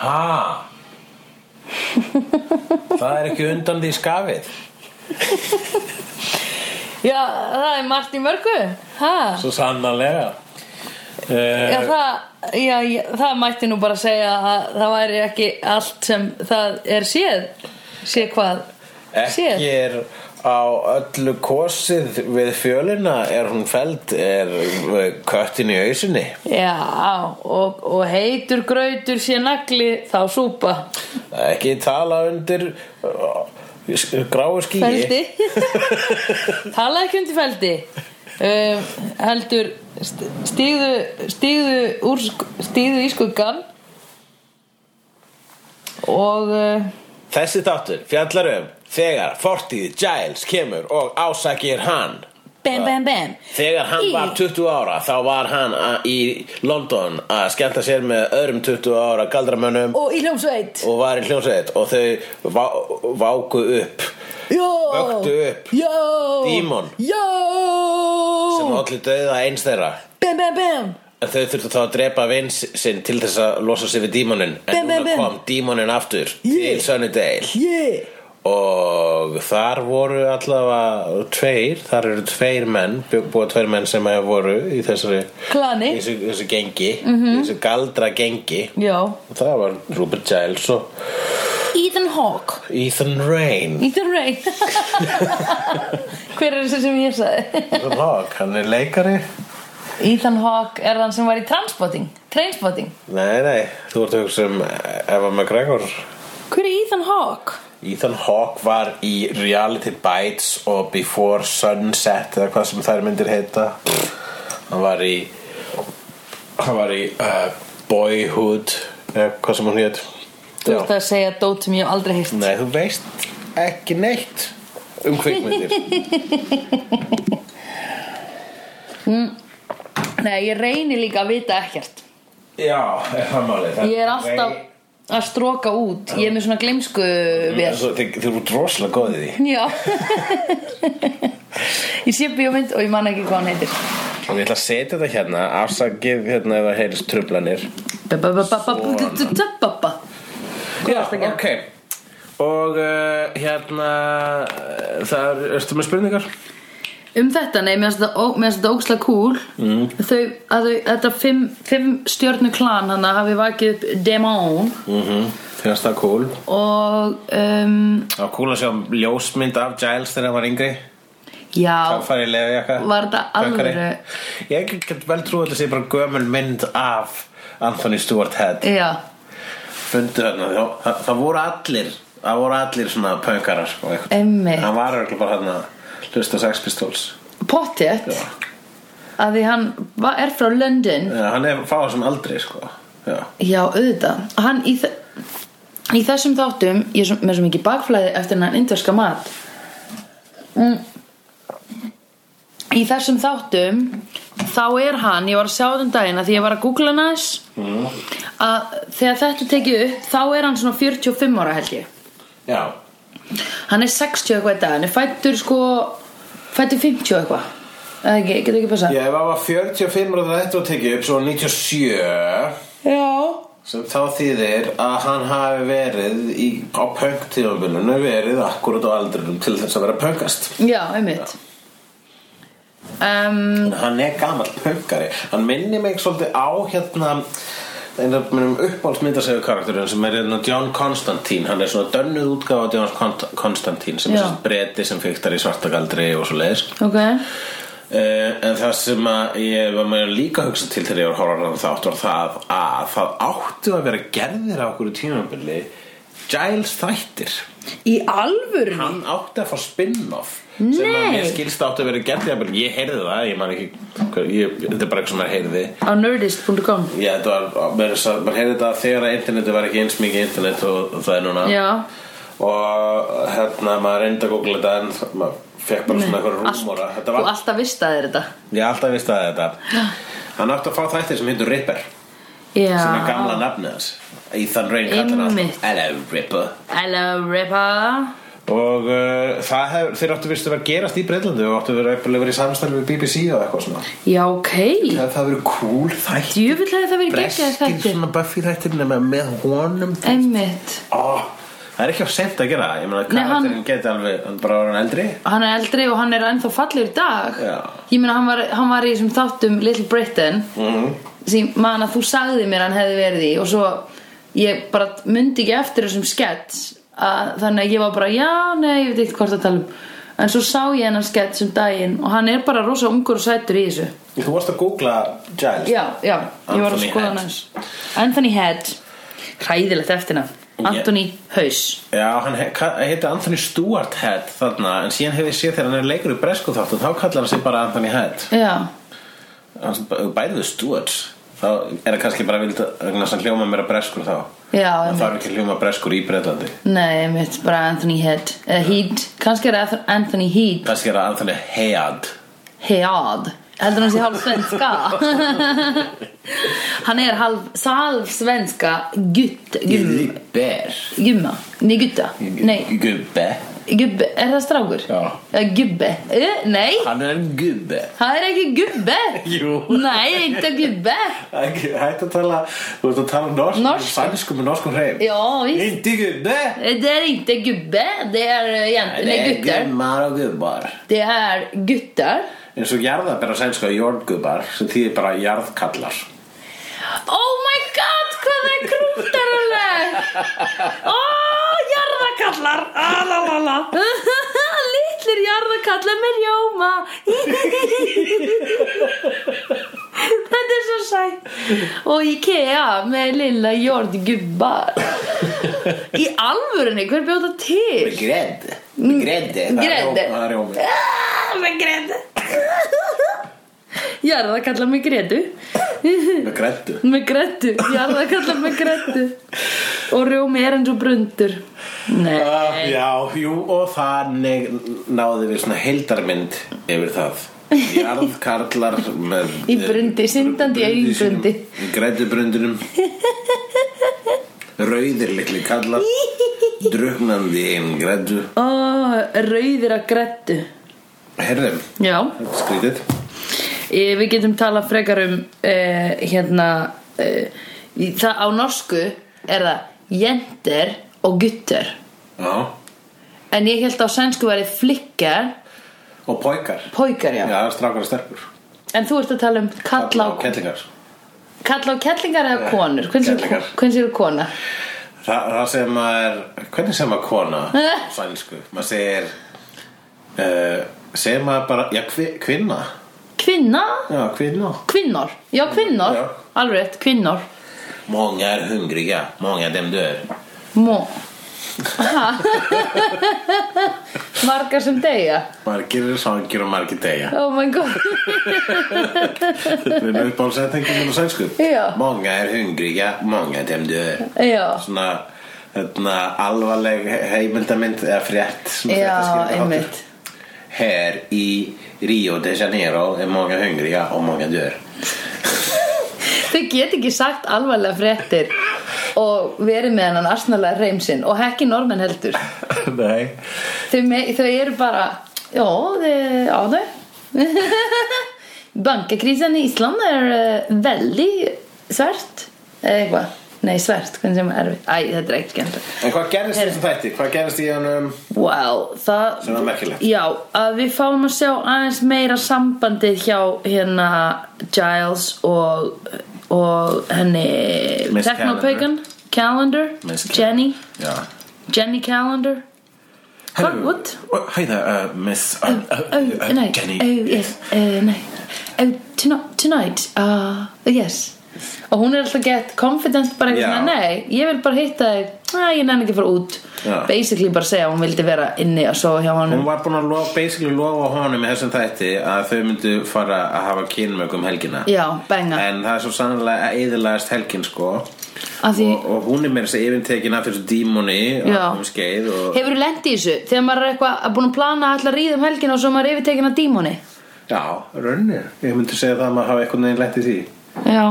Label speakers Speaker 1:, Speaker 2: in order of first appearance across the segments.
Speaker 1: Ha? Það er ekki undan því skafið
Speaker 2: Já, það er margt í mörgu ha?
Speaker 1: Svo sannanlega
Speaker 2: Já,
Speaker 1: uh,
Speaker 2: það, já, já, það mætti nú bara segja að það væri ekki allt sem það er séð sé hvað séð
Speaker 1: Ekki er á öllu kosið við fjölina er hún feld er eh, köttin í ausinni
Speaker 2: Já, og, og heitur grautur sé nagli þá súpa
Speaker 1: Ekki tala undir uh, gráu skýi
Speaker 2: feldi Tala ekki undir feldi um, heldur st- stíðu stíðu, úr, sk- stíðu í skuggan og uh,
Speaker 1: Þessi þáttur fjallar um þegar fortíð Giles kemur og ásakir hann
Speaker 2: bam bam bam
Speaker 1: Þegar hann
Speaker 2: Í-
Speaker 1: var 20 ára þá var hann a- í London að skemmta sér með öðrum 20 ára galdramönnum
Speaker 2: og í hljómsveit
Speaker 1: og var í hljómsveit og þau vá, váku upp
Speaker 2: Jó
Speaker 1: Vöktu upp.
Speaker 2: Jó
Speaker 1: Dímon.
Speaker 2: Jó
Speaker 1: sem allir döða eins þeirra
Speaker 2: Bam bam bam
Speaker 1: en þau þurftu þá að drepa vinn sinn til þess að losa sig við dímonin en
Speaker 2: Bim, bim,
Speaker 1: núna
Speaker 2: bim.
Speaker 1: kom dímonin aftur
Speaker 2: Yeah.
Speaker 1: til Sunnydale
Speaker 2: Yeah
Speaker 1: og þar voru allavega tveir, þar eru tveir menn bjó- búa tveir menn sem að voru í þessari
Speaker 2: Klani.
Speaker 1: í þessu, þessu gengi, í þessu galdra gengi
Speaker 2: Já
Speaker 1: og það var Rupert Giles og
Speaker 2: Ethan Hawke
Speaker 1: Ethan Rain
Speaker 2: Ethan Ray Hver er þessi sem ég sagði?
Speaker 1: Ethan Hawke, hann er leikari
Speaker 2: Ethan Hawke er hann sem var í Transpotting Trainspotting
Speaker 1: nei, nei, þú ert að hugsa um Eva McGregor
Speaker 2: Hver er Ethan Hawke?
Speaker 1: Ethan Hawke var í Reality Bites og Before Sunset eða hvað sem þær myndir heita hann var í hann var í uh, Boyhood eða hvað sem hann hétt
Speaker 2: Þú ert að segja dót sem ég hef aldrei hýrt
Speaker 1: Nei, þú veist ekki neitt um kvikmyndir
Speaker 2: Mm. Nei, ég reyni líka að vita ekkert
Speaker 1: Já, er það málið Það-
Speaker 2: Ég er alltaf að stróka út Ég er með svona gleimsku
Speaker 1: Nei,
Speaker 2: vel
Speaker 1: svo, þið, þið eru droslega góðið í því.
Speaker 2: Já Ég sé bíómynd og ég man ekki hvað hann heitir
Speaker 1: og ég ætla að setja þetta hérna afsakið hérna ef það heyrist trublanir
Speaker 2: Ba-ba-ba-ba-ba-ba-ba-ba-ba.
Speaker 1: Já,
Speaker 2: varstu að gera?
Speaker 1: ok Og uh, hérna uh, Það ertu með spurningar?
Speaker 2: Um þetta, nei, mér finnst þetta ó- mér finnst þetta ógslag cool mm. þau, að þau, þetta fimm, fimm stjörnu klan hann hafi vakið upp Demon
Speaker 1: Mm -hmm. Finnst það cool
Speaker 2: og um,
Speaker 1: Það var cool að sjá ljósmynd af Giles þegar hann var yngri
Speaker 2: já,
Speaker 1: Það farið í leðjaka
Speaker 2: Var þetta alvöru?
Speaker 1: Ég get vel trú að þetta sé bara gömul mynd af Anthony Stewart Head
Speaker 2: já
Speaker 1: Fundu þarna það, það, það voru allir Það voru allir svona pönkarar og eitthvað.
Speaker 2: Einmitt.
Speaker 1: Hann var örugglega bara hann að hlusta á Sex Pistols
Speaker 2: pottjett að því hann va- er frá London
Speaker 1: Já, Hann er fáið sem aldrei sko Já
Speaker 2: já, auðvitað hann í, þe- í þessum þáttum ég er svo, með svo mikið bakflæði eftir hann indverska mat Mm. í þessum þáttum þá er hann, ég var að sjá þetta um daginn að því ég var að googla hann aðeins að þegar þetta er tekið upp þá er hann svona 45 ára held ég
Speaker 1: Já
Speaker 2: hann er 60 eitthvað í dag, hann er fættur sko fættur 50 eitthvað eða ekki, getur ekki passað
Speaker 1: Já, ef það var 45 og þetta var tekið upp svo 97
Speaker 2: já,
Speaker 1: sem þá þýðir að hann hafi verið í, á pöngtíðanbílunum verið akkurat á aldrinum til þess að vera pöngast
Speaker 2: já, einmitt um,
Speaker 1: Hann er gamall pöngari Hann minnir mig svolítið á hérna einu af minnum uppáhaldsmyndasegu karakterinn sem er hérna John Constantine hann er svona dönnuð útgáfa John Con- Constantine sem
Speaker 2: Já.
Speaker 1: er svona breyti sem fyktar í svartagaldri og svo leiðis
Speaker 2: ok,
Speaker 1: Uh, en það sem að ég var með líka að hugsa til þegar ég var horfarnar þátt var það að það áttu að vera gerðir á okkur tímabili Giles þættir
Speaker 2: í alvöru
Speaker 1: hann átti að fá spin-off sem að
Speaker 2: Nei.
Speaker 1: mér skilst áttu að vera gerðir ég heyrði það, ég man ekki hver- ég, þetta er bara eitthvað sem maður heyrði
Speaker 2: á nerdist.com
Speaker 1: Já, þetta var, mér, er sa- maður heyrði þetta þegar að interneti var ekki eins mikið internet og það er núna
Speaker 2: já,
Speaker 1: og hérna maður reyndi að googla þetta en það- maður fekk bara svona eitthvað rúmóra
Speaker 2: allt,
Speaker 1: þetta var
Speaker 2: þú alltaf vist að þér þetta
Speaker 1: Ég hef alltaf vist að þetta Hann átti að fá þættir sem heitur Ripper
Speaker 2: já.
Speaker 1: sem er gamla nafnið hans Ethan Rain kallar hann
Speaker 2: Einmitt.
Speaker 1: Hello Ripper
Speaker 2: Hello Ripper
Speaker 1: og uh, það hef, þeir áttu vist að vera að gerast í Breitlandu og áttu að vera að vera í samstarfi við BBC og eitthvað svona
Speaker 2: Já, ok
Speaker 1: það, það verið cool þætt
Speaker 2: Djöfull hefði það verið geggjað
Speaker 1: breskir
Speaker 2: þetta
Speaker 1: svona Buffy þættir nema með honum
Speaker 2: Einmitt
Speaker 1: oh, það er ekki á sent að gera það. ég meina
Speaker 2: Nei, hann-
Speaker 1: karakterin geti alveg hann bara var hann eldri
Speaker 2: Hann er eldri og hann er ennþá fallegur í dag
Speaker 1: Já.
Speaker 2: Ég meina, hann var, hann var í þessum þáttum Little Britain mm. sem man að þú sagði mér hann hefði verið í og svo ég bara mundi ekki eftir þessum skets að, þannig að ég var bara, já, nei, ég veit ekki hvort að tala um en svo sá ég hennan skets um daginn og hann er bara rosa ungur og sætur í þessu
Speaker 1: þú varst að googla Giles
Speaker 2: Já, já, ég var að
Speaker 1: Anthony
Speaker 2: skoða
Speaker 1: Head.
Speaker 2: hann hans Anthony Head Hræðilegt eftirna Anthony Haus
Speaker 1: Já, hann he- ka- heiti Anthony Stewart Head þarna, en síðan hef ég séð þegar hann er leikur í bresku þáttum, þá kallar hann sig bara Anthony Head
Speaker 2: Já,
Speaker 1: hann bæðið Stewart þá er það kannski bara vild að vegna þess að hann hljóma meira breskur þá
Speaker 2: já,
Speaker 1: það
Speaker 2: einmitt.
Speaker 1: þarf ekki að hljóma breskur í Breitlandi
Speaker 2: nei, mitt bara Anthony Head Eða Heed, kannski er það Anthony Heed
Speaker 1: kannski er það Anthony Head
Speaker 2: Head Heldur hann sé hálf svenska Hann er hálf, hálf svenska Gutt, gum,
Speaker 1: Gubber
Speaker 2: gumma Nei, gutta, nei,
Speaker 1: Gubbe
Speaker 2: gubbe, er það strákur?
Speaker 1: Já.
Speaker 2: Eða Gubbe, Eh, nei,
Speaker 1: Hann er en gubbe
Speaker 2: það er ekki gubbe
Speaker 1: Jú.
Speaker 2: Nei, eitthvað gubbe
Speaker 1: Ekki- Hætt að tala, þú ert að tala um norsk
Speaker 2: Norsku.
Speaker 1: Sænsku með norskum hreif
Speaker 2: Já, víst
Speaker 1: Hindi gubbe
Speaker 2: Det er ikke gubbe, det er jenter, nei, gutter.
Speaker 1: gummar og gubbar
Speaker 2: Det er gutter.
Speaker 1: eins og jarðabera sænska jórngubar sem þýðir bara jarðkallar
Speaker 2: Oh my god, hvað það er krúttaröleg! Ó, oh, jarðakallar! Ah, la, la, la. Littlir jarðakallar með rjóma. Þetta er svo sætt. Og IKEA með lilla jordgubbar. Í alvörunni, hver bjóta til?
Speaker 1: Gredd
Speaker 2: Mm.
Speaker 1: Greddi
Speaker 2: Greddi.
Speaker 1: Það er rjómi
Speaker 2: Ah, með gretu Ég er að kalla mig gretu
Speaker 1: Með greddu
Speaker 2: Með gretu, ég er að kalla mig gretu Og rjómi er eins og brundur Nei,
Speaker 1: uh, Já, jú og þannig náði við svona heildarmynd yfir það Jarðkarlar með eh,
Speaker 2: Í brundi, syndandi í eigin
Speaker 1: Greddubrundinum Rauðir litli kallar Druknandi í einn greddu
Speaker 2: ó, rauðir að gretu
Speaker 1: Herðum,
Speaker 2: Já,
Speaker 1: skrítið
Speaker 2: e, við getum talað frekar um e, Hérna e, í- Það á norsku er það Jenter og gutter
Speaker 1: Já
Speaker 2: En ég held á sænsku væri flikkar
Speaker 1: Og poikar
Speaker 2: Pókar, já
Speaker 1: Já, strákar og stelpur
Speaker 2: En þú ert að tala um kalla og
Speaker 1: kellingar
Speaker 2: Kalla á kellingar eða konur?
Speaker 1: Kellingar.
Speaker 2: Hvernig séu kona?
Speaker 1: Þa, það sem maður, hvernig sem maður kona á sænsku, maður segir uh, segir maður bara já, kvi, kvinna
Speaker 2: Kvinna?
Speaker 1: já, kvinna
Speaker 2: Kvinnor? Já, kvinnor.
Speaker 1: Mm, Já.
Speaker 2: Alveg rétt, kvinnor.
Speaker 1: Många er hungriga, många dem dör
Speaker 2: Mó. Ha. Margar sem deyja.
Speaker 1: margir er svangir og margir deyja
Speaker 2: Oh my god.
Speaker 1: þetta er mjög bálsettingum minn á sænsku
Speaker 2: Já.
Speaker 1: Många er hungriga, många dem dör
Speaker 2: Já.
Speaker 1: svona þarna, alvarleg he- heimildamynd eða frétt svona
Speaker 2: Já,
Speaker 1: fréttaskýringarþáttur.
Speaker 2: einmitt.
Speaker 1: Här i Rio de Janeiro är många hungriga och många dör
Speaker 2: Þau get ekki sagt alvarlega fréttir og verið með hennan arsnalega reymsinn og hekki normenn heldur.
Speaker 1: Nei
Speaker 2: Þau, me, þau eru bara, já, þau, já þau. Bankakrisen í Ísland er uh, veldig svært. Eða eitthvað. Nei, svært, hvernig sem er erfið. Æ, þetta er ekki skemmt.
Speaker 1: En hvað gerðist í þessum þætti? Hvað gerðist í hann um...
Speaker 2: Wow, það...
Speaker 1: Sem var merkilegt.
Speaker 2: Já, að við fáum að sjá aðeins meira sambandið hjá hérna Giles og, og henni...
Speaker 1: Miss
Speaker 2: Technopagan, Calendar,
Speaker 1: Miss Cal-
Speaker 2: Jenny,
Speaker 1: Já
Speaker 2: Jenny Calendar. Hvað, what?
Speaker 1: Hæða, uh, miss uh, uh,
Speaker 2: Oh,
Speaker 1: uh,
Speaker 2: no.
Speaker 1: Jenny
Speaker 2: Oh, yes. Uh, no. Oh, tonight. tonight uh, yes. Og hún er alltaf gett confident bara
Speaker 1: Já.
Speaker 2: eitthvað svona, nei, ég vil bara hitta þig, næ, ég nenni ekki að fara út.
Speaker 1: Já.
Speaker 2: Basically bara segja að hún vildi vera inni og sofa hjá honum.
Speaker 1: Hún var búin að lofa, basically lofa honum í þessum þætti að þau myndu fara að hafa kynmök um helgina
Speaker 2: Já, benga.
Speaker 1: En það er svo sannlega að eðilaðast helgin sko
Speaker 2: Af því,
Speaker 1: og, og hún er meira þessi yfirtekin af þessu dímoni
Speaker 2: Já.
Speaker 1: um skeið og
Speaker 2: hefur þú lent í þessu þegar maður er eitthvað að búin að plana að ætla að ríða um helgina og svo maður er yfirtekin að dímoni?
Speaker 1: Já, raunir Ég myndi segja það að maður hafa eitthvað neginn lett í því
Speaker 2: Já.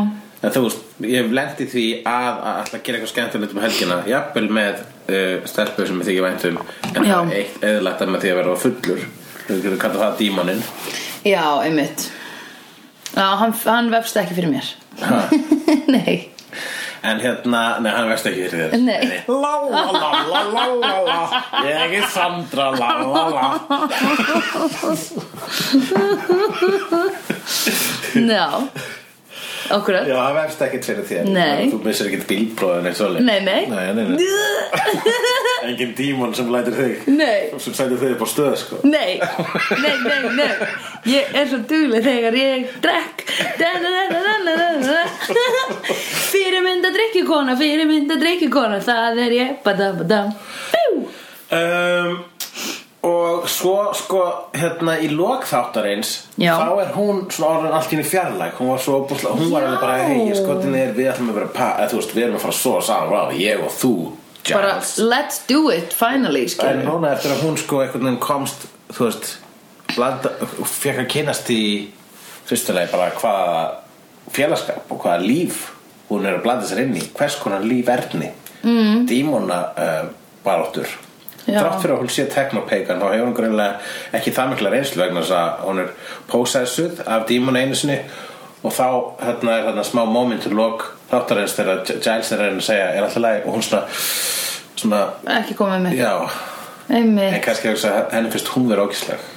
Speaker 1: en þú veist, ég hef lent í því að að ætla að gera eitthvað skemmtilegt um helgina jafnvel með uh, stelpu sem ég þykir vænt um en
Speaker 2: Já.
Speaker 1: það er eitt eðlægt að með því að vera fullur þú getur kallað það dímaninn
Speaker 2: Já, einmitt Já, hann, hann vefst ekki fyrir mér
Speaker 1: Ha.
Speaker 2: Nei
Speaker 1: en hérna, nei hann veist ekki fyrir þér
Speaker 2: Nei.
Speaker 1: la la la la la la la ég er Sandra la la la
Speaker 2: Já, okkurat
Speaker 1: já það veist ekki fyrir þér
Speaker 2: Nei.
Speaker 1: þú missir ekki bílbróðin eitt svolít
Speaker 2: Nei, nei.
Speaker 1: nei, nei, nei. engin dímon sem lætir þig
Speaker 2: Nei,
Speaker 1: sem sætir þig upp á stöð sko
Speaker 2: nei, nei, nei, nei Ég er svo dugleg þegar ég drekk Da, da, da, da, da, da, da, da. Fyrirmynda drikkjukona, fyrirmynda drikkjukona Það er ég, badabadam Bú
Speaker 1: um, Og svo sko hérna í lokþáttarins
Speaker 2: Já.
Speaker 1: Þá er hún svona orðin allt í henni fjarlæg Hún var svo búslega, hún var
Speaker 2: Já.
Speaker 1: alveg bara Hei, ég skotin er, við ætlum að vera pa eða, Þú veist, við erum að fara svo saman, wow, ég og þú
Speaker 2: Bara,
Speaker 1: Giles
Speaker 2: let's do it, finally skilur.
Speaker 1: En núna eftir að hún sko einhvern veginn komst Þú veist, blanda, fekk að kynast í Fyrstulega bara hvaða félagskap og hvaða líf Hún er að blanda sér inn í Hvers konar líf erni mm. Dímona uh, baráttur
Speaker 2: Já.
Speaker 1: Þrátt fyrir að hún sé teknopeikan Þá hefur hún greinlega ekki það mikla reynslu Vegna þess að hún er pósæðsuð Af dímona einu sinni Og þá hérna, er þarna smá momentur lok Þáttarins þegar Giles er að reyna að segja Er alltaf læg og hún svona Svona,
Speaker 2: Ekki komið með
Speaker 1: já En
Speaker 2: Einmitt
Speaker 1: kannski hugsa, að henni finnst hún vera ógisleg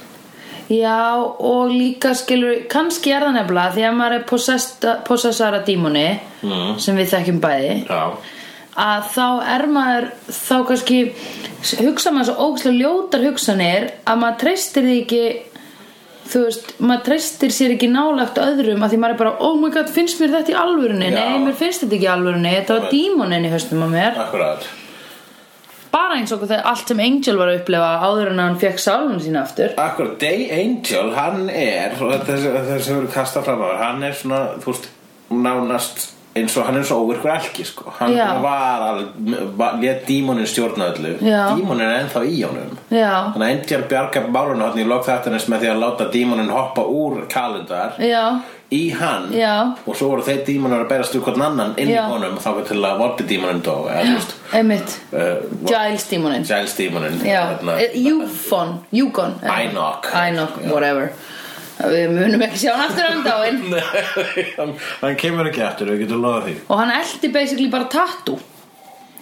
Speaker 2: Já, og líka skilur kannski er það nefnilega því að maður er possessed- possessara dímoni mm. sem við þekkjum bæði
Speaker 3: Já
Speaker 2: að þá er maður þá kannski hugsa maður svo ógæslega ljótar hugsanir að maður treystir því ekki þú veist, maður treystir sér ekki nálagt öðrum að því maður er bara, oh my god, finnst mér þetta í alvörunni
Speaker 1: Já.
Speaker 2: nei, mér finnst þetta ekki í alvörunni, þetta var
Speaker 1: Einmitt.
Speaker 2: dímonin í höstum á mér
Speaker 1: Akkurat
Speaker 2: bara eins og þegar allt sem Angel var að upplifa áður en hann fekk sálun sína aftur
Speaker 1: Akkurat, Day Angel, hann er og þessi þessi hefur kastað fram á þér hann er svona, þú veist, nánast eins og hann er svo óvirkur elki sko. hann
Speaker 2: Já.
Speaker 1: var alveg létt dímonin stjórna öllu
Speaker 2: Já.
Speaker 1: dímonin er ennþá í honum
Speaker 2: Já.
Speaker 1: þannig að Angel bjargar málun hann í lok þættanins með því að láta dímonin hoppa úr kalendar
Speaker 2: Já,
Speaker 1: í hann
Speaker 2: Já.
Speaker 1: og svo voru þeir dímonar að berast úr hvern annan inn
Speaker 2: Já.
Speaker 1: í honum þá til að vorti dímonin dó eða, þú veist,
Speaker 2: einmitt
Speaker 1: uh,
Speaker 2: Giles dímonin
Speaker 1: Giles Hérna. dímonin
Speaker 2: Já, Eh, Euphon, Eugon eh,
Speaker 1: Ænok.
Speaker 2: Ænok, whatever Eh, Við munum ekki sjá hann aftur á dáin
Speaker 1: Nei, hann, hann kemur ekki eftir, við getum loðað því
Speaker 2: Og hann eldi basically bara tattoo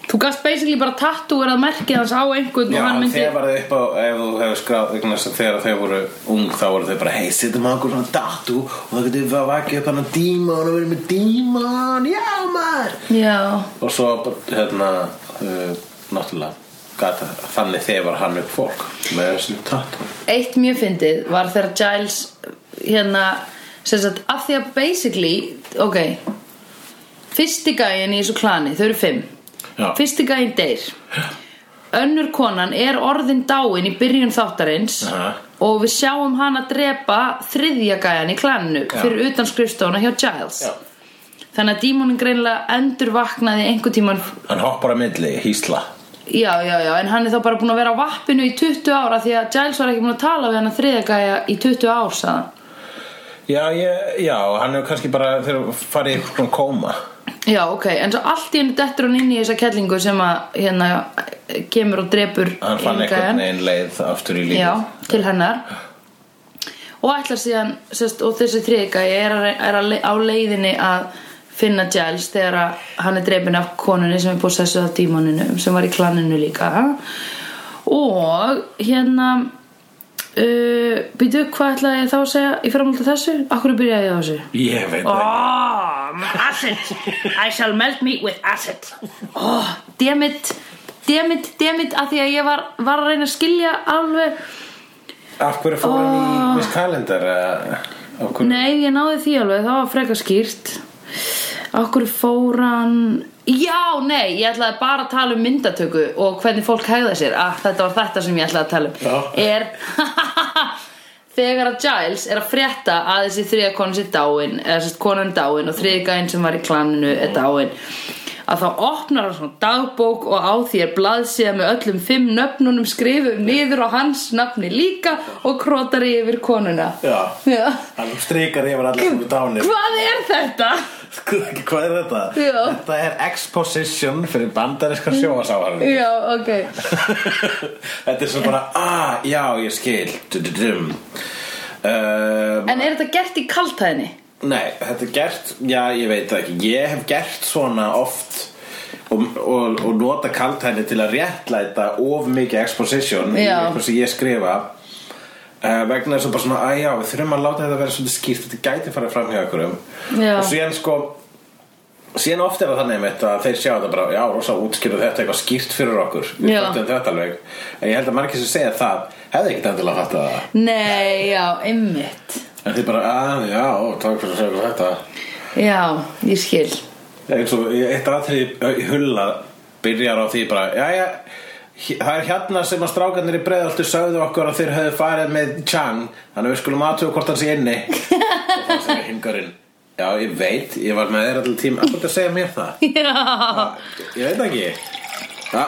Speaker 2: Þú gast basically bara tattoo er að merkið hans á einhvern
Speaker 1: Já,
Speaker 2: og hann myndi
Speaker 1: þegar var þau upp á, ef þú hefur skráð vegna þess að þegar þau voru ung þá voru þau bara hei, setjum á okkur svona datu og það getum við að vakið upp hann að dímon og verið með dímon, já maður
Speaker 2: Já,
Speaker 1: og svo, bara, hérna, uh, náttúrulega gata, þannig þefar hann upp fólk með þessu tatu
Speaker 2: eitt mjög fyndið var þegar Giles hérna, sem sagt, af því að basically, ok fyrsti gæin í þessu klani, þau eru fimm
Speaker 1: Já.
Speaker 2: fyrsti gæin deyr önnur konan er orðin dáin í byrjun þáttarins
Speaker 1: Aha.
Speaker 2: og við sjáum hana drepa þriðja gæjan í klaninu fyrir utan skrifstofuna hjá Giles
Speaker 1: Já.
Speaker 2: þannig að dímonin greinlega endur vaknaði einhver tíman
Speaker 1: Hann hoppar að milli, hísla
Speaker 2: Já, já, já, en hann er þá bara búin að vera á vappinu í 20 ára því að Giles var ekki búin að tala við hann að þriðagæja í 20 ár, sagðan.
Speaker 1: Já, ég, já, hann hefur kannski bara þegar farið í svona kóma
Speaker 2: Já, ok, en svo allt í henni dettur hann inn í þessa kellingu sem að hérna kemur og drepur
Speaker 1: Hann fann
Speaker 2: hinn gæjan.
Speaker 1: einhvern veginn leið aftur í lífið
Speaker 2: Já, til hennar og ætlar síðan sest, og þessi þriðgæja er, að, er að, á leiðinni að finna Giles þegar að hann er dreipin af konunni sem er búið sessuð af dímoninum sem var í klaninu líka og hérna uh, býtu hvað ætlaði ég þá að segja í framhaldi af þessu? Akkur byrjaði ég á þessu?
Speaker 1: Ég veit það
Speaker 2: Oh, acid I shall melt meat with acid Oh, damn it Damn it, damn it Af því að ég var, var að reyna að skilja alveg
Speaker 1: Af hverju fór hann í Miss Calendar? eh, Af hverju?
Speaker 2: Nei, ég náði því alveg, það var frekar skýrt Okkur fór hann Já, nei, ég ætlaði bara að tala um myndatöku og hvernig fólk hegða sér ah, Þetta var þetta sem ég ætlaði að tala um
Speaker 1: Já.
Speaker 2: Er Þegar að Giles er að frétta að þessi þriða konan sér dáin eða sérst konan er dáin og þriðgæinn sem var í klaninu er dáin að þá opnar hann svona dagbók og á því er blaðsíða með öllum fimm nöfnunum skrifum niður á hans nafni líka og krótar yfir konuna
Speaker 1: Já.
Speaker 2: Já.
Speaker 1: Hann streikar yfir allir sem er dánir
Speaker 2: Hvað er þetta?
Speaker 1: Sko, Hvað er þetta?
Speaker 2: Já.
Speaker 1: Þetta er exposition fyrir bandarinska sjóasáharn
Speaker 2: Já, ok
Speaker 1: Þetta er svo bara, ah, já, ég skil Dududum uh,
Speaker 2: En er þetta gert í kaltæðinni?
Speaker 1: Nei, þetta er gert Já, ég veit það ekki Ég hef gert svona oft Og, og, og nota kaltæni til að réttlæta of mikið exposition í
Speaker 2: Já.
Speaker 1: eitthvað sem ég skrifa uh, vegna þess að bara svona, að já, við þurfum að láta þetta vera svolítið skýrt, þetta gæti farið fram hjá okkur
Speaker 2: Já.
Speaker 1: og síðan sko síðan oft er það þannig mitt að þeir sjá þetta bara já, rosa útskýrðu þetta eitthvað skýrt fyrir okkur við
Speaker 2: Já.
Speaker 1: fættum þetta alveg en ég held að margir sem segja það hefði ekkert endilega fattað það
Speaker 2: Nei, já, einmitt
Speaker 1: en þið bara, að já, ó, takk fyrir að segja þetta
Speaker 2: Já, ég skil
Speaker 1: eins og eitt aðrið hulla byrjar á því bara já, já, það er hérna sem að strákanir í breiðaltu sögðu okkur að þeir höfðu farið með Chang þannig að við skulum aðtöku hvort hann sé inni og það sem er hingurinn já, ég veit, ég var með þér allir tím að þetta segja mér það
Speaker 2: Já,
Speaker 1: ég veit það ekki já,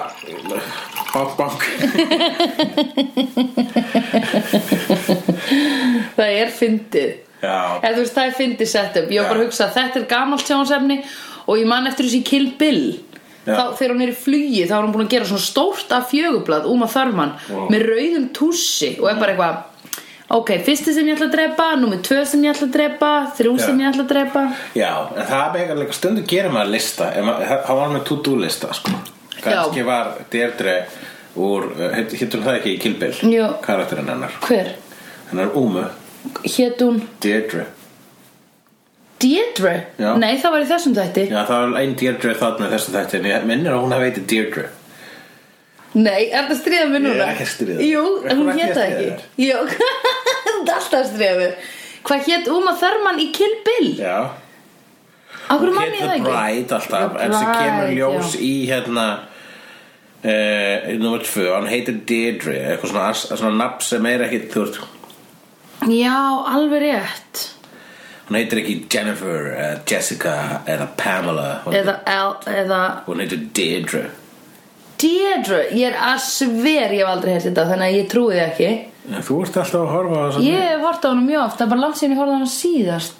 Speaker 1: bank, bank
Speaker 2: það er fyndið
Speaker 1: já,
Speaker 2: Eða þú veist, það er fyndið setup Ég var
Speaker 1: Já.
Speaker 2: bara að hugsa að þetta er gamalt sjónsefni Og ég man eftir þessi Kill Bill
Speaker 1: Já.
Speaker 2: Þá, þegar hún er í flugi þá er hún búin að gera svona stórt af fjögublað um að þörman
Speaker 1: Vá.
Speaker 2: með rauðum tússi og er bara eitthvað ok, fyrsti sem ég ætla að drepa, númer tvö sem ég ætla að drepa þrjú
Speaker 1: Já.
Speaker 2: sem ég ætla að drepa
Speaker 1: já, en það er meðan líka stundu gerir maður lista ef maður- hann var með to-do lista sko. kannski var Deirdre úr, hittum það ekki í Kill Bill
Speaker 2: Jú.
Speaker 1: karakterinn hennar
Speaker 2: hver?
Speaker 1: Hennar Úmu,
Speaker 2: Hét hún
Speaker 1: Deirdre
Speaker 2: Deirdre?
Speaker 1: Já.
Speaker 2: Nei, það var í þessum þætti
Speaker 1: Já, það var einn Deirdre þarna í þessu þætti En ég minnir að hún hafi heiti Deirdre
Speaker 2: Nei, er það að stríða mér
Speaker 1: Ég er
Speaker 2: núna?
Speaker 1: ekki að stríða þér. Er
Speaker 2: Jú, en hún
Speaker 1: hún ekki
Speaker 2: hét
Speaker 1: að
Speaker 2: það
Speaker 1: stríða
Speaker 2: ekki Jú, það er alltaf að stríða mér Hvað hét Uma Thurman í Kill Bill?
Speaker 1: Já,
Speaker 2: Akkur mann ég
Speaker 1: Hét
Speaker 2: það
Speaker 1: The
Speaker 2: ekki?
Speaker 1: Bride alltaf
Speaker 2: The
Speaker 1: En sem kemur
Speaker 2: Bride,
Speaker 1: ljós
Speaker 2: já.
Speaker 1: í hérna uh, Númer tvö, hann heitir Deirdre Eitthvað svona, as- svona nafn sem er ekki Þú veist,
Speaker 2: Já, alveg rétt
Speaker 1: hún heitir ekki Jennifer eða Jessica eða Pamela Hún,
Speaker 2: Eða, El, eða
Speaker 1: hún heitir Deirdre
Speaker 2: Deirdre Ég er að sver ég hef aldrei heyrt þetta Þannig að ég trúi þið ekki
Speaker 1: en Þú ert alltaf að horfa á þess
Speaker 2: Ég hef hort á hana mjög oft Það er bara langt síðan ég horfði á hana síðast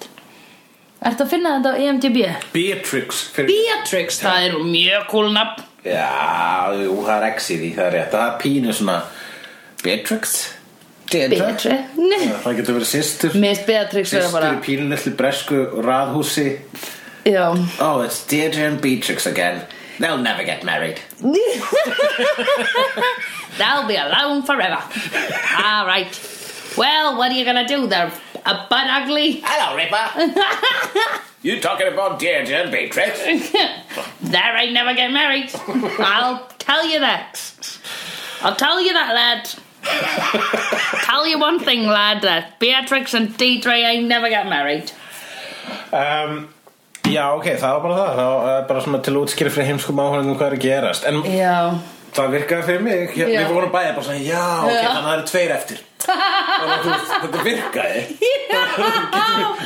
Speaker 2: Ertu að finna þetta á E IMDb?
Speaker 1: Beatrix fyrir...
Speaker 2: Beatrix, það er mjög cool nafn
Speaker 1: Já, jú, það er X í því, það er rétt Það er pínu svona Beatrix Deirdre
Speaker 2: Beatrix
Speaker 1: Já,
Speaker 2: Mér
Speaker 1: Það getur verið systur
Speaker 2: finnst Beatrix vera
Speaker 1: Systur
Speaker 2: bara
Speaker 1: í pínullu bresku raðhúsi
Speaker 2: Já
Speaker 1: Oh, it's Deirdre and Beatrix again They'll never get married
Speaker 2: They'll be alone forever. All right. Well, what are you gonna do there? A butt ugly?
Speaker 1: Hello, Ripper You talking about Deirdre and Beatrix?
Speaker 2: there ain't never get married. I'll tell you that. I'll tell you that, lad. tell you one thing, lad, that Beatrix and Deidre ain't never get married.
Speaker 1: um, Já, ok, það var bara það Það var uh, bara svona til útskýri fyrir heimskum áhörðum hvað er að gerast En
Speaker 2: Já.
Speaker 1: það virkaði fyrir mig Ég,
Speaker 2: Já.
Speaker 1: Við vorum bæði bara svona, já, ok,
Speaker 2: Já.
Speaker 1: þannig að það eru tveir eftir Þannig að þú veist, Þetta virkaði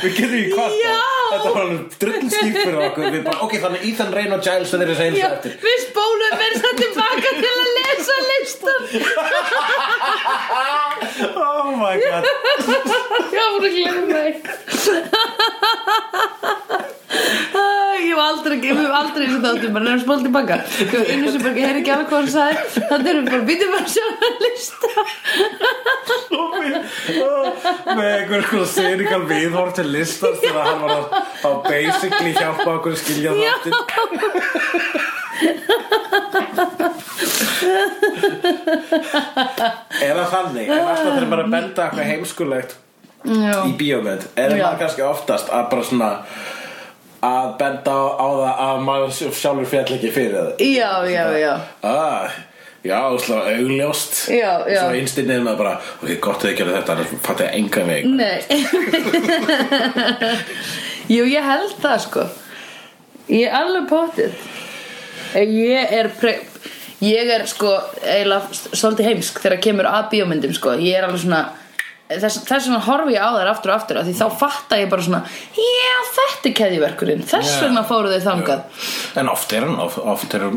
Speaker 1: Við getum ekki kvarta
Speaker 2: Já.
Speaker 1: Þetta var alveg drullskýrt fyrir okkur Við bara, ok, þannig að Ethan Rain og Giles Það er þessi heimskum eftir
Speaker 2: við spólum verðs það tilbaka til að lesa listan.
Speaker 1: Oh my god
Speaker 2: Ég var búin að glemma mig Æ, Ég hef aldrei Ég hef aldrei eins og þáttum bara nefnum spól tilbaka Ég var einu sem bara ég heyri ekki alveg hvað hann sagði Þannig erum við bara býtum bara að sjá hann lista
Speaker 1: með einhver sko senikal viðhorf til listar þegar hann var að, að basically hjálpa okkur að skilja
Speaker 2: Já.
Speaker 1: þáttin eða þannig en alltaf þeir bara að benda eitthvað heimskulegt
Speaker 2: Já.
Speaker 1: í bíómynd eða
Speaker 2: Já.
Speaker 1: maður kannski oftast að bara svona að benda á, á það að maður sjálfur fjall ekki fyrir það
Speaker 2: Já, já, já
Speaker 1: Ah, já, slá augljóst
Speaker 2: Já, já.
Speaker 1: Svo einstinnið maður bara Ok, gott að þið gera þetta, annars fatt ég engan veg
Speaker 2: Nei Jú, ég held það sko Ég er alveg potið En Ég er pre Ég er sko eiginlega s- svolítið heimsk þegar kemur að bíómyndum sko Ég er alveg svona eh,
Speaker 3: þess, þess vegna horfi ég á þær aftur og aftur af því þá fatta ég bara svona já þetta er keðjuverkurinn þess
Speaker 1: Já.
Speaker 3: vegna fóru þau þangað
Speaker 1: En oft er hann, of- oft er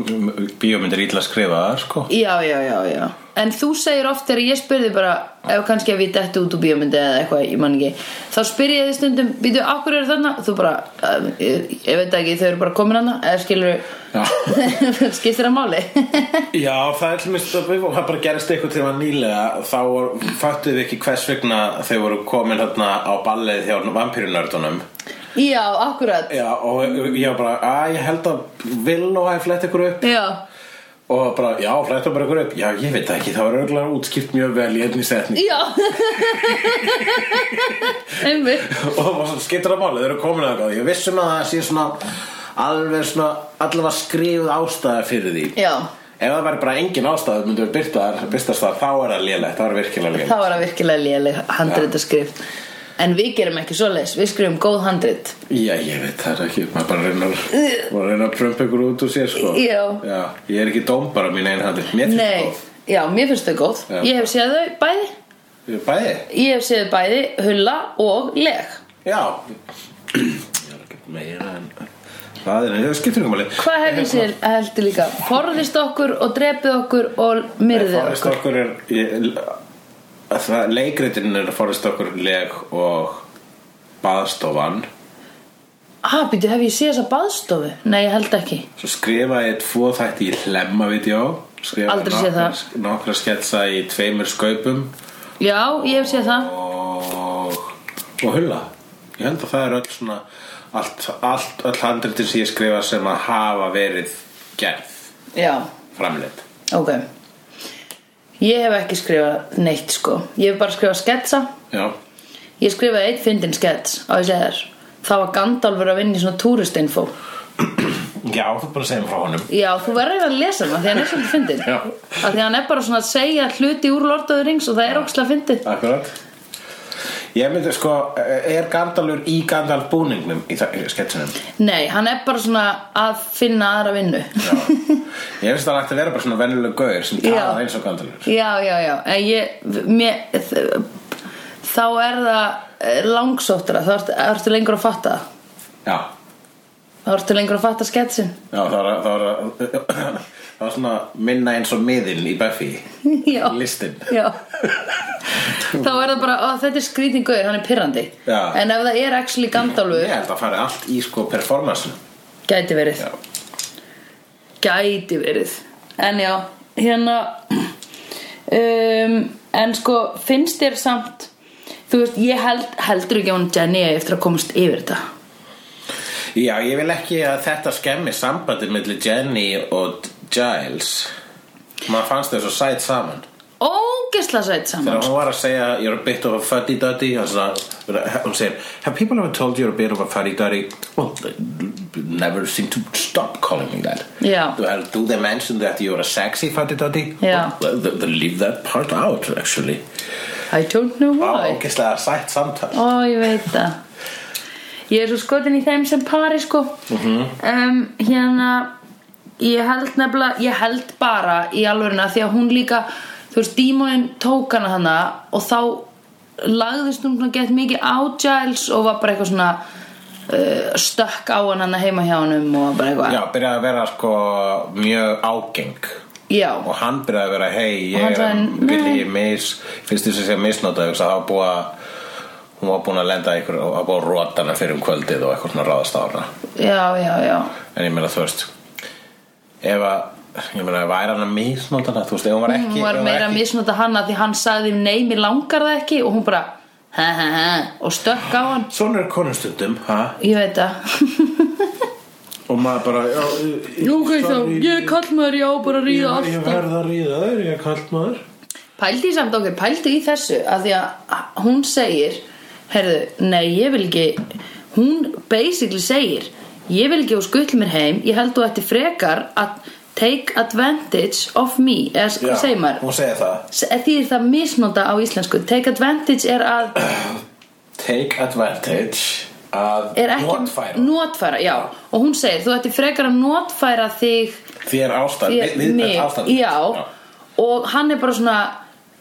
Speaker 1: bíómyndir ítla skrifaðar sko
Speaker 3: Já, já, já, já En þú segir oft þegar ég spurði bara ef kannski ef ég detti út úr bíómyndi eða eitthvað, ég man ekki þá spyr ég þið stundum, býtu, af hverju eru þarna? Þú bara, um, ég, ég veit ekki, þau eru bara komin hana eða
Speaker 1: Já.
Speaker 3: skilur skiptir það máli
Speaker 1: Já, það er til mér stofið og það bara gerist eitthvað til að nýlega þá var- fattuðu við ekki hvers vegna þau voru komin þarna á ballið hjá vampírunördunum
Speaker 3: Já, akkurat
Speaker 1: Já, og ég var bara, að ég held að vil og að flett ykkur upp
Speaker 3: Já,
Speaker 1: og bara, já, fletta bara ykkur upp Já, ég veit það ekki, það var örgulega útskipt mjög vel í einni setning
Speaker 3: já Einmitt
Speaker 1: og það var svona skiptir að máli, þau eru komin að eitthvað Ég vissum að það sé svona alveg svona allavega skrifuð ástæða fyrir því
Speaker 3: Já,
Speaker 1: Ef það væri bara engin ástæða myndu við byrtaðar, byrtaðar, þá er það lélegt, þá er virkilega lélegt
Speaker 3: þá var það virkilega léleg handritaskrift En við gerum ekki svoleiðis, við skrifum góð handrit
Speaker 1: Já, ég veit það er ekki, maður bara reynar maður reynar að prömpa ykkur út úr sér sko
Speaker 3: Já.
Speaker 1: Já, ég er ekki dómbara mín einn handi, mér finnst
Speaker 3: Nei,
Speaker 1: það
Speaker 3: já, mér finnst þau góð
Speaker 1: Já.
Speaker 3: Ég hef séð þau bæði
Speaker 1: góð. Bæði?
Speaker 3: Ég hef séð bæði hulla og leg
Speaker 1: Já Ég er ekki meira en það er, það skiptir ekki máli Eh,
Speaker 3: Hvað hef ég séð heldur líka? Forðist okkur og drepið okkur og myrðið
Speaker 1: Forrest
Speaker 3: okkur
Speaker 1: okkur er ég, að það, leikritin er Forrest okkur leg og baðstofan
Speaker 3: Ah, býtu, hef ég séð þessa baðstofu? Nei, ég held ekki
Speaker 1: Svo skrifaði ég tvo þætti í hlemmavídeó Skrifaði
Speaker 3: Aldrei séð
Speaker 1: nokkra-
Speaker 3: það.
Speaker 1: Nokkra sketsa í tveimur skaupum
Speaker 3: Já, ég hef séð það
Speaker 1: og, og hulla ég held að það er öll svona allt, allt, öll handritin sem ég skrifa sem að hafa verið gerð
Speaker 3: Já,
Speaker 1: framleitt
Speaker 3: ok Ég hef ekki skrifað neitt, sko Ég hef bara skrifað sketsa
Speaker 1: já,
Speaker 3: Ég skrifaði eitt fyndin skets á ég segðar Það var Gandalfur að vinna í svona túristinfo
Speaker 1: já þú bara segjum frá honum
Speaker 3: Já, þú verður að lesa hann af því hann er svolítið fyndin
Speaker 1: Já.
Speaker 3: Af því hann er bara svona að segja hluti úr Lord of the Rings og það er ókslega fyndið
Speaker 1: akkurat ég myndi sko, er Gandalfur í Gandalf búningnum í þa- í sketsunum
Speaker 3: Nei, hann er bara svona að finna aðra vinnu
Speaker 1: já ég finnst það ætti að vera bara svona venjuleg gaur sem
Speaker 3: Já.
Speaker 1: talaði eins og Gandalfur
Speaker 3: Já, já, já En ég, mér þ- Þá er það eh, langsóttara Þá ertu, ertu lengur að fatta það.
Speaker 1: já,
Speaker 3: Þá ertu lengur að fatta sketsin
Speaker 1: já það var, það var, það var svona minna eins og miðin í Buffy
Speaker 3: Já,
Speaker 1: listin
Speaker 3: já Þá er það bara, ó, þetta er skrýtingur, hann er pirrandi
Speaker 1: Já.
Speaker 3: En ef það er actually
Speaker 1: Ég
Speaker 3: Gandalfur
Speaker 1: held að fara allt í sko performance
Speaker 3: Gæti verið
Speaker 1: Já.
Speaker 3: Gæti verið En já, hérna um, En sko, finnst þér samt Þú veist, ég held, heldur ekki að hún Jenny eigi eftir að komast yfir þetta
Speaker 1: Já, ég vil ekki að þetta skemmi sambandið millir Jenny og Giles Maður fannst þau svo sæt saman
Speaker 3: Ógeðslega sætt saman
Speaker 1: Þegar hún var að segja You're a bit of a fuddy-duddy og svona, Hún segir Have people ever told you you're a bit of a fuddy-duddy? Well, they never seem to stop calling me that
Speaker 3: Já.
Speaker 1: Well, do they mention that you're a sexy fuddy-duddy?
Speaker 3: Já.
Speaker 1: Well, they, they leave that part out, actually
Speaker 3: I don't know
Speaker 1: Ó,
Speaker 3: why
Speaker 1: ógeðslega sætt samtal
Speaker 3: Ó, ég veit það Ég er svo skotin í þeim sem pari sko
Speaker 1: Mhm.
Speaker 3: um, Hérna Ég held nefnilega Ég held bara í alvöruna Því að hún líka, þú veist, dímóin tók hana hana Og þá lagðist hún svona gett mikið á Giles Og var bara eitthvað svona uh, Stökk á hann hana heima hjá honum Og bara eitthvað
Speaker 1: Já, byrjaði að vera sko mjög ágeng
Speaker 3: Já.
Speaker 1: og hann byrjaði að vera hei, ég
Speaker 3: Og hann
Speaker 1: er
Speaker 3: sagði,
Speaker 1: vil ég mis finnst þess að segja misnota þess að það var búið að hún var búin að lenda í ykkur og var búin að róta hana fyrir um kvöldið og eitthvað svona ráðast á hana
Speaker 3: já, já, já
Speaker 1: en ég meina þú veist ef að ég meina væri hann að misnota hana þú veist, ef hún var ekki
Speaker 3: hún var
Speaker 1: ef
Speaker 3: meira að
Speaker 1: ekki,
Speaker 3: misnota hann að því hann sagði nei, mér langar það ekki og hún bara ha, ha, ha, og stökk á hann
Speaker 1: Svona er konustundum, ha?
Speaker 3: ég veit það
Speaker 1: Og maður bara, já,
Speaker 3: Jú, ok, þá, ég er kallmaður, já, bara að ríða
Speaker 1: Ég
Speaker 3: alltaf
Speaker 1: verð að ríða þér, ég er kallt maður
Speaker 3: Pældi í samt okkur, pældi í þessu að því að hún segir herðu, nei, ég vil ekki hún basically segir ég vil ekki að þú skuttla mér heim ég held þú ætti frekar að take advantage of me eða
Speaker 1: Já,
Speaker 3: hvað segir maður?
Speaker 1: Hún segir það
Speaker 3: Því er það misnota á íslensku take advantage er að
Speaker 1: Take advantage að
Speaker 3: er ekki
Speaker 1: notfæra
Speaker 3: notfæra, já. og hún segir þú ætti frekar að notfæra þig
Speaker 1: Þér ástand,
Speaker 3: þér-
Speaker 1: við, við,
Speaker 3: mig,
Speaker 1: ástand
Speaker 3: já. og hann er bara svona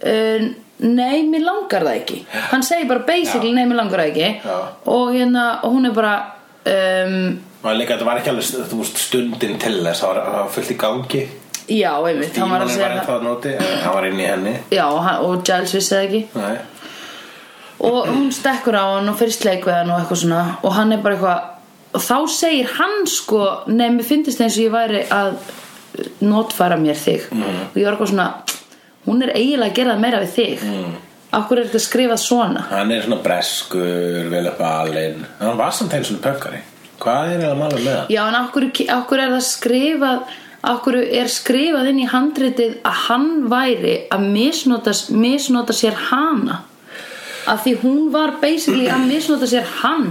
Speaker 3: uh, nei, mér langar það ekki hann segir bara basically, nei, mér langar það ekki
Speaker 1: Já.
Speaker 3: og hérna, og hún er bara um,
Speaker 1: Og líka þetta var ekki alveg st- þú veist, stundin til þess, það var, það var fullt í gangi
Speaker 3: já, einmitt, hann var að
Speaker 1: Tímanum
Speaker 3: segja
Speaker 1: ennþá
Speaker 3: það
Speaker 1: að nóti, en hann var inn í henni
Speaker 3: já, og hann, og Giles vissi það ekki
Speaker 1: Nei.
Speaker 3: og hún stekkur á hann og fyrir sleik við hann og eitthvað svona og hann er bara eitthvað og þá segir hann sko nei, mér finnst eins og ég væri að eh, notfæra mér þig
Speaker 1: Mm.
Speaker 3: og ég var eitthvað svona hún er eiginlega að gera það meira við þig mm. akkur er þetta skrifað svona
Speaker 1: Hann er svona breskur, vel upp alinn Hann var samt einu svona pökkari Hvað er það málum með það?
Speaker 3: já, en akkur, akkur er það skrifað akkur er skrifað inn í handritið að hann væri að misnota, misnota sér hana að því hún var basically að misnota sér hann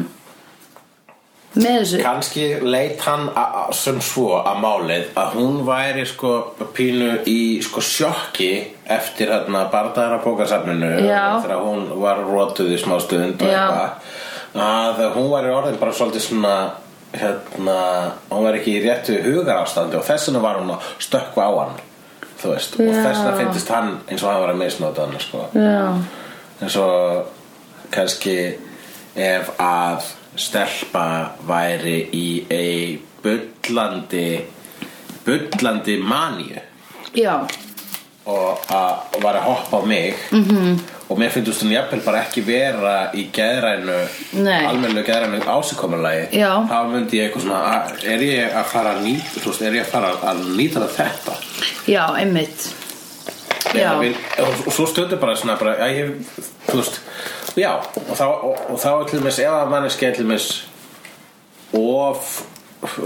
Speaker 3: með þessu
Speaker 1: Kanski leit hann a- a- sem svo að málið að hún væri sko pínu í sko sjokki eftir hérna barðaðara bókasafninu
Speaker 3: Já.
Speaker 1: þegar hún var rótuð í smá stund og
Speaker 3: Já.
Speaker 1: eitthvað að hún væri orðin bara svolítið svona hérna, hún var ekki í réttu hugarástandi og þess vegna var hún að stökkva á hann þú veist, og
Speaker 3: Já.
Speaker 1: þess vegna fyndist hann eins og hann var að misnóta hann sko
Speaker 3: Já,
Speaker 1: eins og kannski ef að stelpa væri í ei bullandi bullandi maníu
Speaker 3: já,
Speaker 1: og að og var að hoppa á mig
Speaker 3: Mhm.
Speaker 1: -hmm. og mér finnst hún jafnvel bara ekki vera í geðrænu
Speaker 3: Nei.
Speaker 1: almennu geðrænu ásikommulagi
Speaker 3: Já.
Speaker 1: þá myndi ég eitthvað svona að- er ég að fara að nýta þú veist, er ég að fara að nýta þetta
Speaker 3: já, einmitt
Speaker 1: Já.
Speaker 3: Já,
Speaker 1: Vil, og, og svo stundur bara svona bara, að ég, þú veist já, og þá, og, og þá er til dæmis ef að manneski er til dæmis of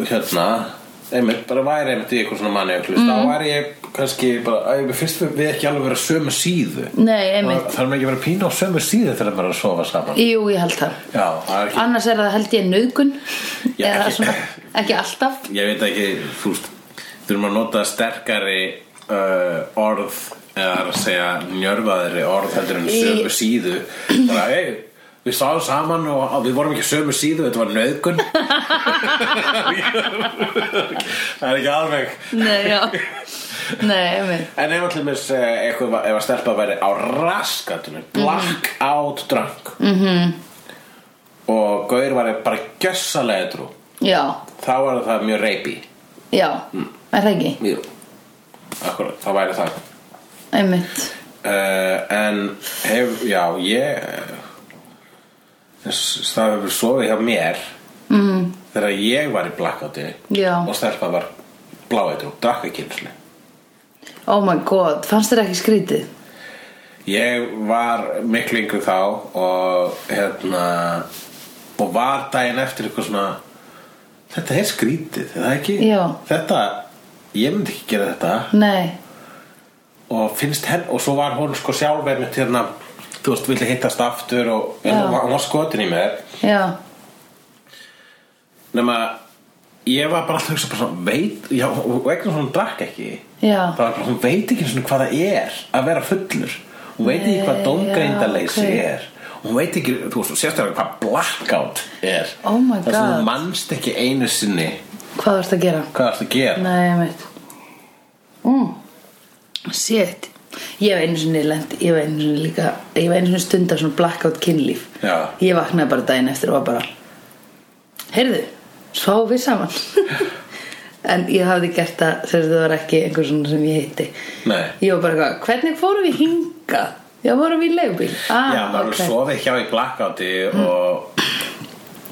Speaker 1: hérna einmitt, bara væri einmitt í eitthvað svona manni mm.
Speaker 3: Mhm.
Speaker 1: þá væri ég kannski bara að ég fyrst við ekki alveg vera á sömu síðu
Speaker 3: nei, einmitt
Speaker 1: það þarf ekki að vera pína á sömu síðu þegar maður er að sofa saman
Speaker 3: Jú, ég held það
Speaker 1: já, það er ekki,
Speaker 3: Annars er það held ég nöðgun
Speaker 1: Já,
Speaker 3: Eða
Speaker 1: ekki-
Speaker 3: svona, ekki alltaf
Speaker 1: ég veit ekki þú veist, þurfum að nota sterkari uh, orð eða að segja njörfaðri orð heldur en
Speaker 3: Í-
Speaker 1: sömu síðu bara, ei, við sáum saman og við vorum ekki á sömu síðu, þetta var nöðgun það er ekki alveg
Speaker 3: Nei, já Nei, einmitt
Speaker 1: en ef allir mis eitthvað, ef að stelpa væri á raskatunum black out drunk -hmm. og gaur væri bara gjössalega edru
Speaker 3: Já,
Speaker 1: þá var það mjög reypi
Speaker 3: já, er það ekki
Speaker 1: Jú. Akkurat, það væri það
Speaker 3: Einmitt
Speaker 1: uh, En hef, já, ég eh, þess- Það hefur sofið hjá mér mm. Þegar ég var í blackouti
Speaker 3: Mhm. Já.
Speaker 1: Og stelpa var bláeitur og drakk ekki einu sinni.
Speaker 3: Oh my god, fannst þér ekki skrítið?
Speaker 1: Ég var miklu yngri þá Og hérna Og var daginn eftir eitthvað svona Þetta er skrítið, er það ekki?
Speaker 3: Já.
Speaker 1: Þetta, ég myndi ekki gera þetta
Speaker 3: Nei,
Speaker 1: og finnst henn og svo var hún sko sjálf einmitt hérna þú veist, vildi hittast aftur og en
Speaker 3: Já.
Speaker 1: hún var, hún var skotin í mér
Speaker 3: já,
Speaker 1: nema ég var bara alltaf að hugsa bara svona veit, já, og vegna hún drakk ekki
Speaker 3: Já.
Speaker 1: það var bara, hún veit ekki svona hvað það er að vera fullur hún veit ekki
Speaker 3: Nei,
Speaker 1: hvað dómgreindarleysi
Speaker 3: já, ok.
Speaker 1: er hún veit ekki, þú veist, sérstaklega hvað blackout er
Speaker 3: Oh my
Speaker 1: það sem
Speaker 3: God.
Speaker 1: hún manst ekki einu sinni
Speaker 3: hvað varst að gera?
Speaker 1: hvað það að gera
Speaker 3: Nei, einmitt mm. Shit Ég hef einu sinni lent Ég hef einu sinni líka Ég hef einu sinni stundar svona blackout kynlíf
Speaker 1: Já.
Speaker 3: Ég vaknaði bara daginn eftir og var bara Heyrðu, svo við saman En ég hafði gert það Þegar það var ekki einhver svona sem ég hitti
Speaker 1: Nei.
Speaker 3: Ég var bara eitthvað, hvernig fórum við hinga? Já, vorum við í leigubíl ah,
Speaker 1: já, maður
Speaker 3: ok. Mm.
Speaker 1: okay. sofið hjá í blackouti og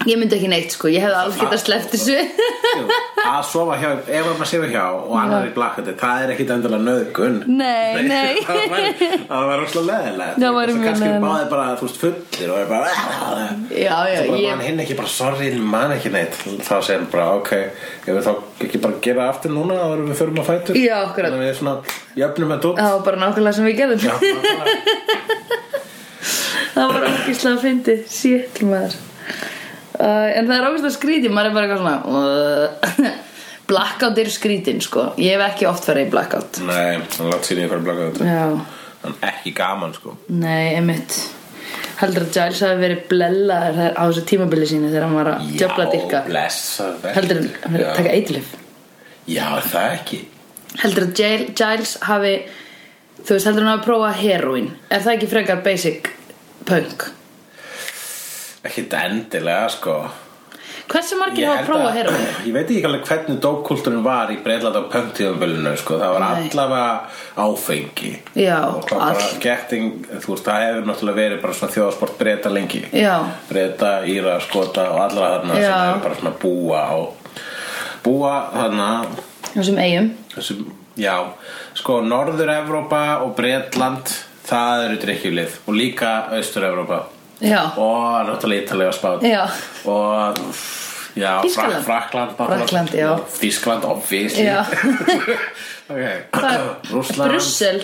Speaker 3: Ég myndi ekki neitt sko, ég hefði alveg getað sleppt þessu
Speaker 1: Jú, að sofa hjá, ef að maður sefur hjá og annar er í blakkandi, það er ekkit endilega nöðgun
Speaker 3: Nei, nei.
Speaker 1: það væri- það var rosalega leðilegt
Speaker 3: Það væri mjög
Speaker 1: kannski
Speaker 3: leiðilegt.
Speaker 1: báði bara, þú veist, fullir og er bara já,
Speaker 3: Já, já,
Speaker 1: bara
Speaker 3: ég
Speaker 1: mann hinn ekki bara, sorry, mann ekki neitt þá segir hann bara, ok, ef við þá ekki bara gera aftur núna, þá erum við förum að fætur
Speaker 3: Já, akkurat.
Speaker 1: þannig að við svona, jöfnum að dótt
Speaker 3: Það var bara nákvæmlega sem við gerðum Það var ógislega að fyndi Sétt maður uh, En það er ógislega skrítið Maður er bara eitthvað svona uh, Blackout eru skrítin sko Ég hef ekki oft farið í blackout
Speaker 1: nei, hann látt síðan í hverju blakkandi
Speaker 3: Já,
Speaker 1: hann ekki gaman, sko
Speaker 3: nei, einmitt Heldur að Giles hafi verið blellaður þar- á þessu tímabili sínu þegar hann var að djöfla dyrka
Speaker 1: blessaður vertu.
Speaker 3: Heldur að hann verið
Speaker 1: Já.
Speaker 3: að taka eitilif
Speaker 1: já, er það ekki
Speaker 3: Heldur að Jail- Giles hafi þú veist heldur hann að prófa heroin er það ekki frekar basic punk
Speaker 1: Ekki endilega sko
Speaker 3: hversu margir
Speaker 1: Ég
Speaker 3: hafa
Speaker 1: held
Speaker 3: prófað
Speaker 1: að-
Speaker 3: heroin
Speaker 1: Ég veit ekki alveg hvernig dópkultúrin var í breyðlanda á pöngtíðumvölinu sko. Það var
Speaker 3: Nei.
Speaker 1: allavega áfengi
Speaker 3: Já,
Speaker 1: Og það var bara
Speaker 3: all-
Speaker 1: getting, þú veist, það hefur náttúrulega verið bara svona þjóðasport breyta lengi
Speaker 3: Já.
Speaker 1: Breyta, Íra, Skota og allra þarna sem
Speaker 3: Já.
Speaker 1: hefur bara svona búa á Búa þarna
Speaker 3: þessum eigum
Speaker 1: þessum, já, sko Norður-Evrópa og Bretland það eru drikkjulið og líka Austur-Evrópa
Speaker 3: já,
Speaker 1: og náttúrulega Ítalega spátt
Speaker 3: Já.
Speaker 1: og já,
Speaker 3: Þýskaland.
Speaker 1: Frakland
Speaker 3: Frakkland, já.
Speaker 1: Þískland, obviously
Speaker 3: Já.
Speaker 1: ok,
Speaker 3: það
Speaker 1: Rússland
Speaker 3: Brussel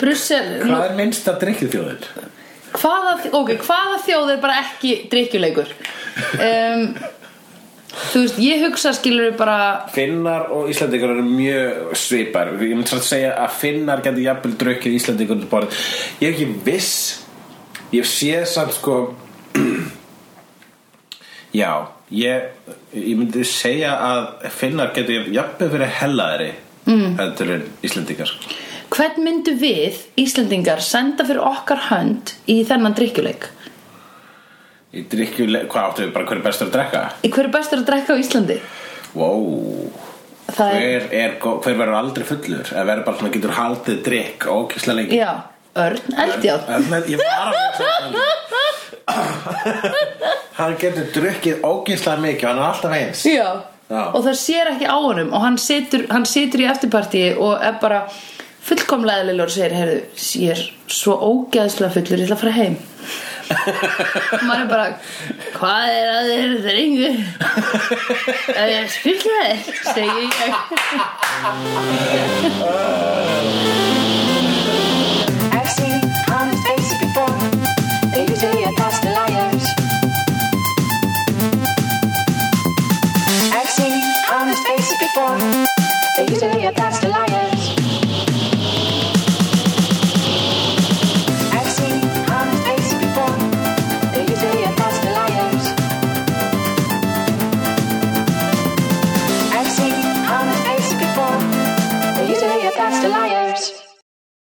Speaker 3: Brussel
Speaker 1: hvað er minnsta drikkjulþjóðin?
Speaker 3: hvaða, ok, hvaða þjóð er bara ekki drikkjuleikur um, þú veist, ég hugsa skilur bara
Speaker 1: Finnar og Íslandingur eru mjög svipar Ég myndi að segja að Finnar getur jafnvel drukkið Íslandingur undir borð Ég er ekki viss Ég sé samt sko Já ég, ég myndi segja að Finnar getur jafnvel verið hellaðri mm. heldur en Íslandingar sko.
Speaker 3: hvern myndu við Íslendingar senda fyrir okkar hönd í þennan drikkjuleik
Speaker 1: Í drikkju, hvað áttu við bara hverju bestur að drekka?
Speaker 3: í hverju bestur að drekka á Íslandi
Speaker 1: Wow
Speaker 3: það er,
Speaker 1: Hver, er, gó- hver verður aldrei fullur? Eða verður bara svona getur haldið drikk ókislega lengi?
Speaker 3: já, Örn Eldjátt
Speaker 1: En Ég var að hugsa það Hann getur drukkið ógeðslega mikið og hann er alltaf eins
Speaker 3: já
Speaker 1: Já.
Speaker 3: og það sér ekki á honum og hann situr, hann situr í eftirpartíi og er bara fullkomlega eðlilegur og segir, heyrðu, ég er svo ógeðslega fullur, ég ætla að fara heim og maður er bara hvað er að þeir drengur ef ég spyrla þeir segi ég
Speaker 4: I've seen honest faces before. They usually are past the liars. I've seen honest faces before. They usually are past the liars. I've seen honest faces before. They usually are past the liars. I've seen honest faces before. They usually are past the liars.